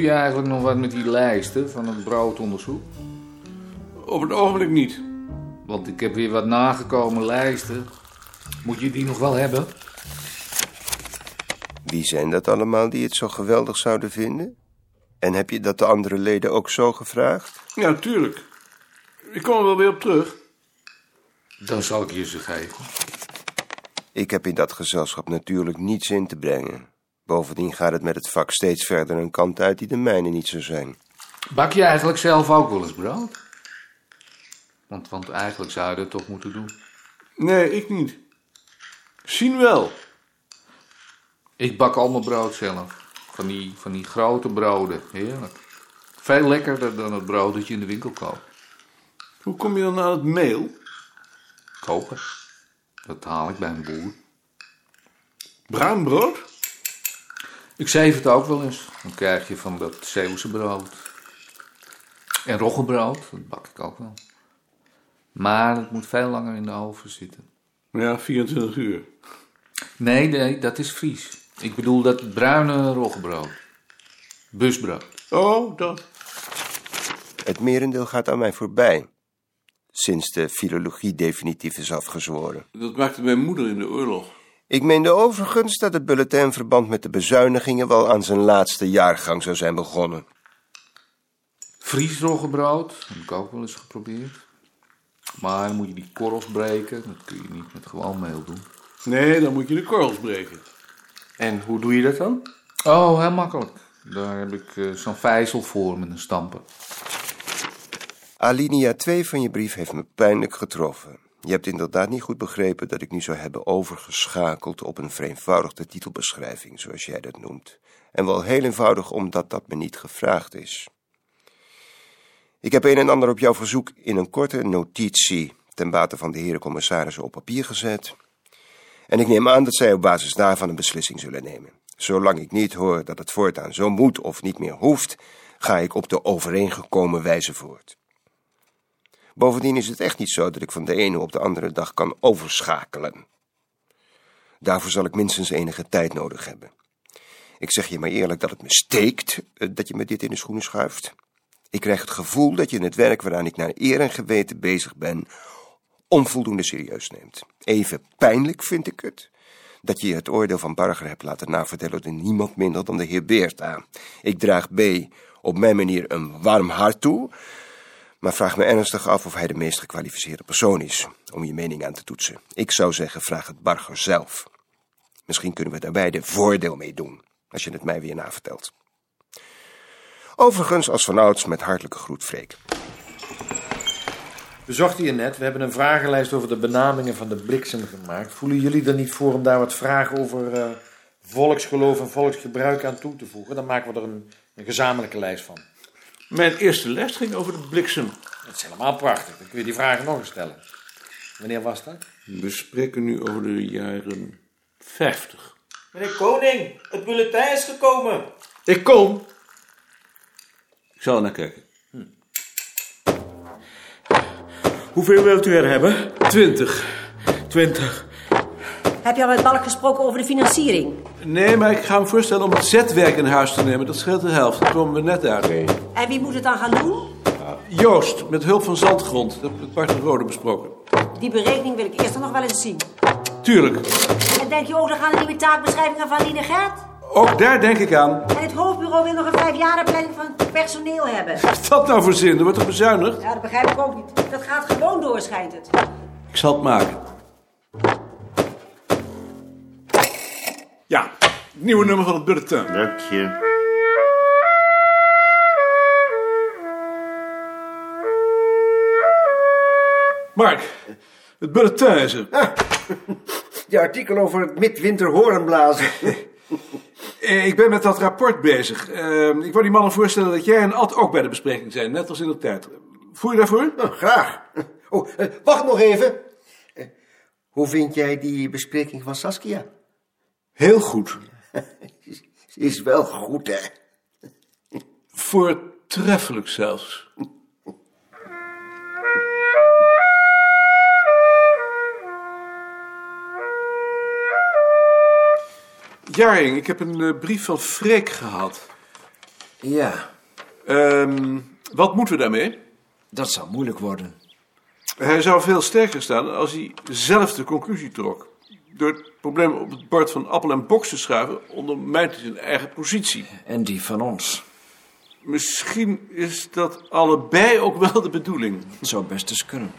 je eigenlijk nog wat met die lijsten van het broodonderzoek? Op het ogenblik niet. Want ik heb weer wat nagekomen lijsten. Moet je die nog wel hebben? Wie zijn dat allemaal die het zo geweldig zouden vinden? En heb je dat de andere leden ook zo gevraagd? Ja, tuurlijk. Ik kom er wel weer op terug. Dan zal ik je ze geven. Ik heb in dat gezelschap natuurlijk niets in te brengen. Bovendien gaat het met het vak steeds verder een kant uit die de mijne niet zou zijn. Bak je eigenlijk zelf ook wel eens brood? Want, want eigenlijk zou je dat toch moeten doen. Nee, ik niet. Zien wel. Ik bak al mijn brood zelf. Van die, van die grote broden. Heerlijk. Veel lekkerder dan het brood dat je in de winkel koopt. Hoe kom je dan aan het meel? Kopen. Dat haal ik bij een boer. Bruin brood? Ik zeef het ook wel eens. Dan krijg je van dat Zeeuwse brood. En roggebrood, dat bak ik ook wel. Maar het moet veel langer in de oven zitten. Ja, 24 uur. Nee, nee, dat is Fries. Ik bedoel dat bruine roggebrood. Busbrood. Oh, dat. Het merendeel gaat aan mij voorbij. Sinds de filologie definitief is afgezworen. Dat maakte mijn moeder in de oorlog. Ik meende overigens dat het bulletin verband met de bezuinigingen wel aan zijn laatste jaargang zou zijn begonnen. Fries roggebrood, heb ik ook wel eens geprobeerd. Maar dan moet je die korrels breken. Dat kun je niet met gewoon meel doen. Nee, dan moet je de korrels breken. En hoe doe je dat dan? Oh, heel makkelijk. Daar heb ik eh, zo'n vijzel voor met een stamper. Alinea 2 van je brief heeft me pijnlijk getroffen. Je hebt inderdaad niet goed begrepen dat ik nu zou hebben overgeschakeld op een vereenvoudigde titelbeschrijving, zoals jij dat noemt. En wel heel eenvoudig omdat dat me niet gevraagd is. Ik heb een en ander op jouw verzoek in een korte notitie ten bate van de heren commissarissen op papier gezet. En ik neem aan dat zij op basis daarvan een beslissing zullen nemen. Zolang ik niet hoor dat het voortaan zo moet of niet meer hoeft, ga ik op de overeengekomen wijze voort. Bovendien is het echt niet zo dat ik van de ene op de andere dag kan overschakelen. Daarvoor zal ik minstens enige tijd nodig hebben. Ik zeg je maar eerlijk dat het me steekt eh, dat je me dit in de schoenen schuift. Ik krijg het gevoel dat je het werk waaraan ik naar eer en geweten bezig ben, onvoldoende serieus neemt. Even pijnlijk vind ik het dat je je het oordeel van Barger hebt laten navertellen door niemand minder dan de heer Beerta. Ik draag B. op mijn manier een warm hart toe, maar vraag me ernstig af of hij de meest gekwalificeerde persoon is om je mening aan te toetsen. Ik zou zeggen, vraag het Barger zelf. Misschien kunnen we daar beide voordeel mee doen, als je het mij weer navertelt. Overigens, als vanouds, met hartelijke groet, Freek. We zochten je net. We hebben een vragenlijst over de benamingen van de bliksem gemaakt. Voelen jullie er niet voor om daar wat vragen over eh, volksgeloof en volksgebruik aan toe te voegen? Dan maken we er een, een gezamenlijke lijst van. Mijn eerste les ging over de bliksem. Dat is helemaal prachtig. Dan kun je die vragen nog eens stellen. Wanneer was dat? We spreken nu over de jaren 50. Meneer Koning, het bulletin is gekomen. Ik kom. Ik zal er naar kijken. Hm. Hoeveel wilt u er hebben? Twintig. Twintig. Heb je al met Balk gesproken over de financiering? Nee, maar ik ga hem voorstellen om het zetwerk in huis te nemen. Dat scheelt de helft. Daar komen we net uit. En wie moet het dan gaan doen? Joost, met hulp van zandgrond. Dat hebben we met Bart en Rode besproken. Die berekening wil ik eerst nog wel eens zien. Tuurlijk. En denk je ook nog aan de nieuwe taakbeschrijvingen van Line Gert? Ook daar denk ik aan. En het hoofdbureau wil nog een vijfjarenplanning van het personeel hebben. Wat is dat nou voor zin? Er wordt toch bezuinigd? Ja, dat begrijp ik ook niet. Dat gaat gewoon door, schijnt het. Ik zal het maken. Ja, het nieuwe nummer van het bulletin. Dank je. Mark, het bulletin is er. Je artikel over het midwinter horenblazen. Eh, Ik ben met dat rapport bezig. Eh, ik wou die mannen voorstellen dat jij en Ad ook bij de bespreking zijn, net als in de tijd. Voel je daarvoor? Graag. Oh, eh, wacht nog even. Eh, Hoe vind jij die bespreking van Saskia? Heel goed. Ze is wel goed, hè? Voortreffelijk zelfs. Jaring, ik heb een eh, brief van Freek gehad. Ja, Ehm, wat moeten we daarmee? dat zal moeilijk worden. Hij zou veel sterker staan als hij zelf de conclusie trok. Door het probleem op het bord van appel en box te schuiven, ondermijnt hij zijn eigen positie. En die van ons. Misschien is dat allebei ook wel de bedoeling. Het zou best eens kunnen.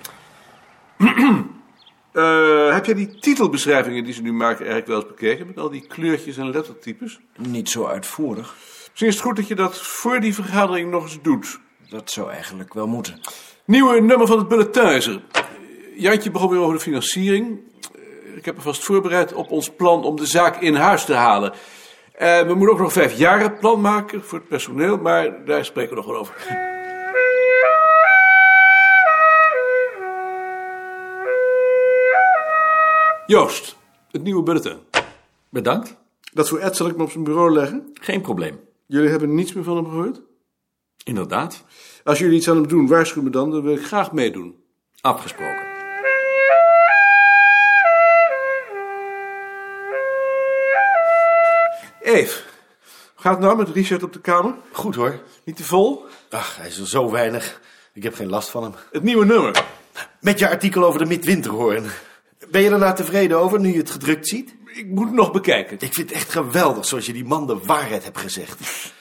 Eh, heb jij die titelbeschrijvingen die ze nu maken eigenlijk wel eens bekeken? Met al die kleurtjes en lettertypes? Niet zo uitvoerig. Misschien is het goed dat je dat voor die vergadering nog eens doet. Dat zou eigenlijk wel moeten. Nieuwe nummer van het Bulletuizer. Jantje begon weer over de financiering. Eh, Ik heb me vast voorbereid op ons plan om de zaak in huis te halen. Eh, we moeten ook nog vijf jaren plan maken voor het personeel, maar daar spreken we nog wel over. Joost, het nieuwe bulletin. Bedankt. Dat voor Ed zal ik me op zijn bureau leggen. Geen probleem. Jullie hebben niets meer van hem gehoord? Inderdaad. Als jullie iets aan hem doen, waarschuw me dan, dan wil ik graag meedoen. Afgesproken. Eve, gaat het nou met Richard op de kamer? Goed hoor. Niet te vol? Ach, hij is er zo weinig. Ik heb geen last van hem. Het nieuwe nummer. Met je artikel over de midwinterhoorn. Ben je er nou tevreden over nu je het gedrukt ziet? Ik moet het nog bekijken. Ik vind het echt geweldig zoals je die man de waarheid hebt gezegd.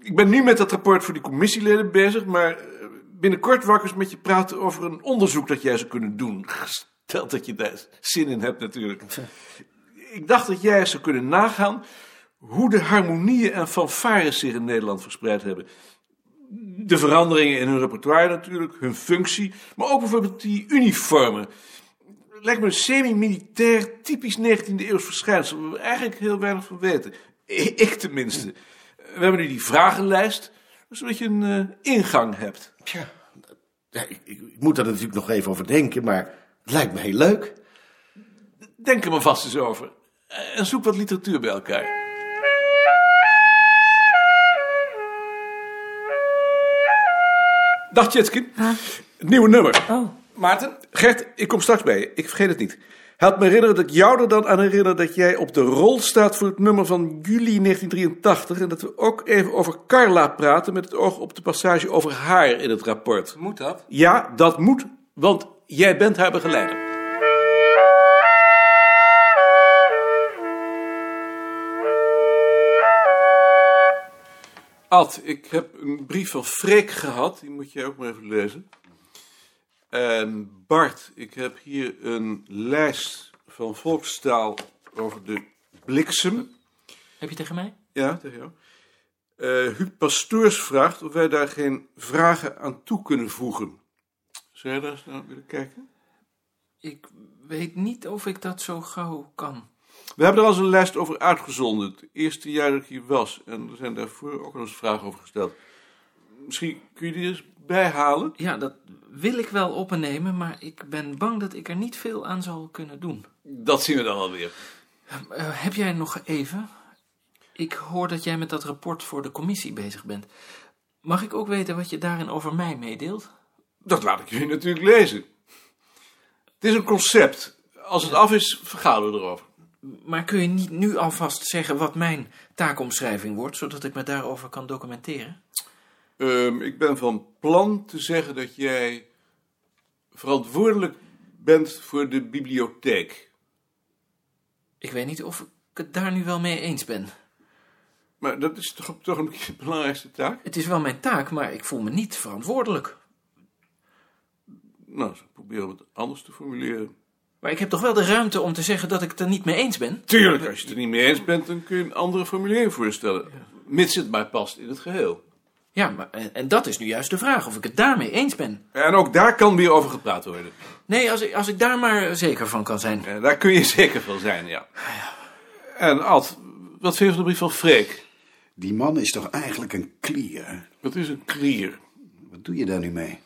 Ik ben nu met dat rapport voor die commissieleden bezig, maar eh, binnenkort wou ik eens met je praten over een onderzoek dat jij zou kunnen doen. Gesteld dat je daar zin in hebt natuurlijk. Ik dacht dat jij eens zou kunnen nagaan hoe de harmonieën en fanfares zich in Nederland verspreid hebben. De veranderingen in hun repertoire natuurlijk, hun functie, maar ook bijvoorbeeld die uniformen. Lijkt me een semi-militair, typisch 19e eeuws verschijnsel, waar we eigenlijk heel weinig van weten. I- Ik tenminste. We hebben nu die vragenlijst, zodat je een eh, ingang hebt. Tja, ja, ik, ik- ik moet daar natuurlijk nog even over denken, maar het lijkt me heel leuk. Denk er maar vast eens over. Eh, En zoek wat literatuur bij elkaar. Dag Jetskin. Het nieuwe nummer. Maarten, Gert, ik kom straks bij je. Ik vergeet het niet. Help me herinneren dat ik jou er dan aan herinner dat jij op de rol staat voor het nummer van juli 1983. En dat we ook even over Carla praten met het oog op de passage over haar in het rapport. Moet dat? Ja, dat moet, want jij bent haar begeleider. Ad, ik heb een brief van Freek gehad. Die moet jij ook maar even lezen. En Bart, ik heb hier een lijst van volkstaal over de bliksem. Heb je tegen mij? Ja, tegen jou. Eh Huub Pastoors vraagt of wij daar geen vragen aan toe kunnen voegen. Zou jij daar eens naar willen kijken? Ik weet niet of ik dat zo gauw kan. We hebben er al eens een lijst over uitgezonden. Het eerste jaar dat ik hier was. En er zijn daarvoor ook al eens vragen over gesteld. Misschien kun je die eens bijhalen? Ja, dat wil ik wel opnemen, maar ik ben bang dat ik er niet veel aan zal kunnen doen. Dat zien we dan alweer. Eh, heb jij nog even? Ik hoor dat jij met dat rapport voor de commissie bezig bent. Mag ik ook weten wat je daarin over mij meedeelt? Dat laat ik jullie natuurlijk lezen. Het is een concept. Als het af is, vergaderen we erover. Maar kun je niet nu alvast zeggen wat mijn taakomschrijving wordt, zodat ik me daarover kan documenteren? Ehm, ik ben van plan te zeggen dat jij verantwoordelijk bent voor de bibliotheek. Ik weet niet of ik het daar nu wel mee eens ben. Maar dat is toch, toch een beetje de belangrijkste taak? Het is wel mijn taak, maar ik voel me niet verantwoordelijk. Nou, ik proberen om het anders te formuleren. Maar ik heb toch wel de ruimte om te zeggen dat ik het er niet mee eens ben? Tuurlijk, als je het er niet mee eens bent, dan kun je een andere formulering voorstellen. Mits het maar past in het geheel. Ja, maar, en, en dat is nu juist de vraag, of ik het daarmee eens ben. En ook daar kan weer over gepraat worden. Nee, als ik, als ik daar maar zeker van kan zijn. Eh, daar kun je zeker van zijn, ja. En Ad, wat vind je van de brief van Freek? Die man is toch eigenlijk een klier? Dat is een klier. Wat doe je daar nu mee?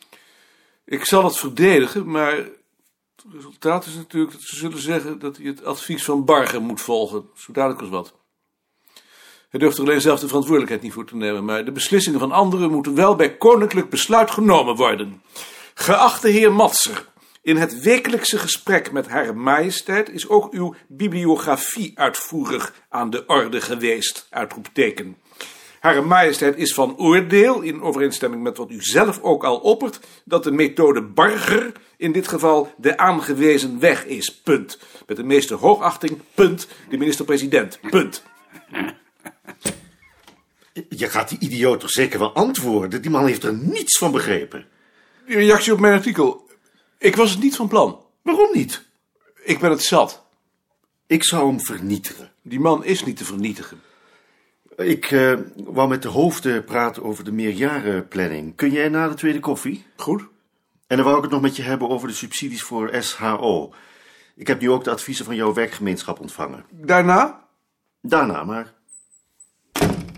Ik zal het verdedigen, maar het resultaat is natuurlijk dat ze zullen zeggen dat hij het advies van Barger moet volgen. Zo duidelijk als wat. Hij durft er alleen zelf de verantwoordelijkheid niet voor te nemen, maar de beslissingen van anderen moeten wel bij koninklijk besluit genomen worden. Geachte heer Matser, in het wekelijkse gesprek met Hare Majesteit is ook uw bibliografie uitvoerig aan de orde geweest. Uitroepteken. Hare Majesteit is van oordeel, in overeenstemming met wat u zelf ook al oppert, dat de methode Barger in dit geval de aangewezen weg is. Punt. Met de meeste hoogachting, punt. De minister-president, punt. Je gaat die idioot toch zeker wel antwoorden? Die man heeft er niets van begrepen. Uw reactie op mijn artikel. Ik was het niet van plan. Waarom niet? Ik ben het zat. Ik zou hem vernietigen. Die man is niet te vernietigen. Ik eh, wou met de hoofden praten over de meerjarenplanning. Kun jij na de tweede koffie? Goed. En dan wou ik het nog met je hebben over de subsidies voor SHO. Ik heb nu ook de adviezen van jouw werkgemeenschap ontvangen. Daarna? Daarna maar.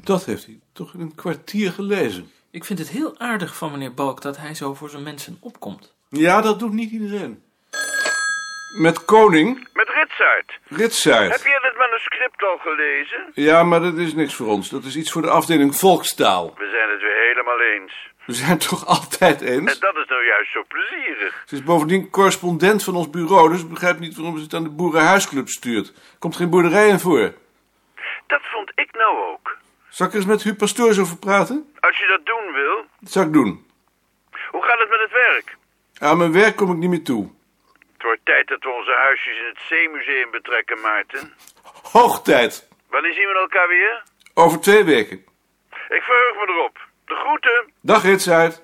Dat heeft hij toch in een kwartier gelezen. Ik vind het heel aardig van meneer Balk dat hij zo voor zijn mensen opkomt. Ja, dat doet niet iedereen. Met Koning, Met Ritsaert. Heb Ritsuit. jij dat manuscript al gelezen? Ja, maar dat is niks voor ons. Dat is iets voor de afdeling volkstaal. We zijn het weer helemaal eens. We zijn het toch altijd eens? En dat is nou juist zo plezierig. Ze is bovendien correspondent van ons bureau, dus ik begrijp niet waarom ze het aan de boerenhuisclub stuurt. Komt geen boerderij in voor. Dat vond ik nou ook. Zal ik er eens met Huub Pastoors over praten? Als je dat doen wil, Dat zou ik doen. hoe gaat het met het werk? Aan mijn werk kom ik niet meer toe. Het wordt tijd dat we onze huisjes in het Zeemuseum betrekken, Maarten. Hoog tijd. Wanneer zien we elkaar weer? Over twee weken. Ik verheug me erop. De groeten. Dag Ritsuit.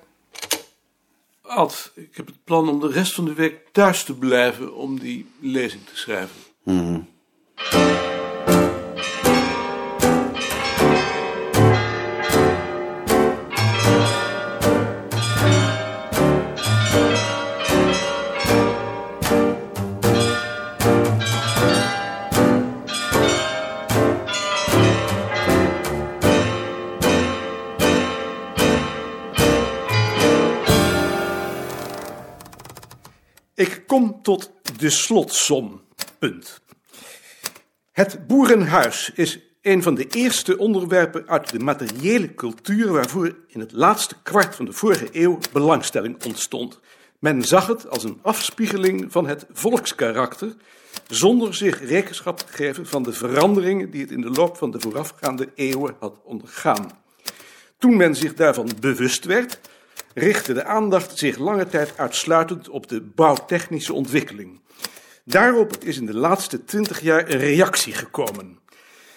Ad, ik heb het plan om de rest van de week thuis te blijven om die lezing te schrijven. Ik kom tot de slotsom. Punt. Het boerenhuis is een van de eerste onderwerpen uit de materiële cultuur waarvoor in het laatste kwart van de vorige eeuw belangstelling ontstond. Men zag het als een afspiegeling van het volkskarakter, zonder zich rekenschap te geven van de veranderingen die het in de loop van de voorafgaande eeuwen had ondergaan. Toen men zich daarvan bewust werd, richtte de aandacht zich lange tijd uitsluitend op de bouwtechnische ontwikkeling. Daarop is in de laatste twintig jaar een reactie gekomen.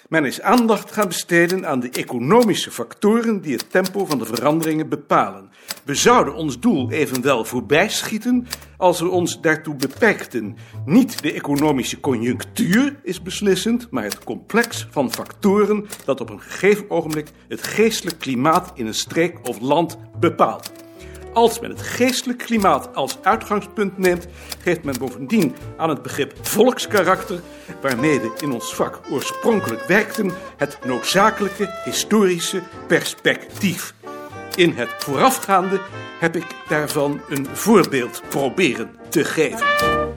Men is aandacht gaan besteden aan de economische factoren die het tempo van de veranderingen bepalen. We zouden ons doel evenwel voorbij schieten als we ons daartoe beperkten. Niet de economische conjunctuur is beslissend, maar het complex van factoren dat op een gegeven ogenblik het geestelijk klimaat in een streek of land bepaalt. Als men het geestelijk klimaat als uitgangspunt neemt, geeft men bovendien aan het begrip volkskarakter, waarmee we in ons vak oorspronkelijk werkten, het noodzakelijke historische perspectief. In het voorafgaande heb ik daarvan een voorbeeld proberen te geven.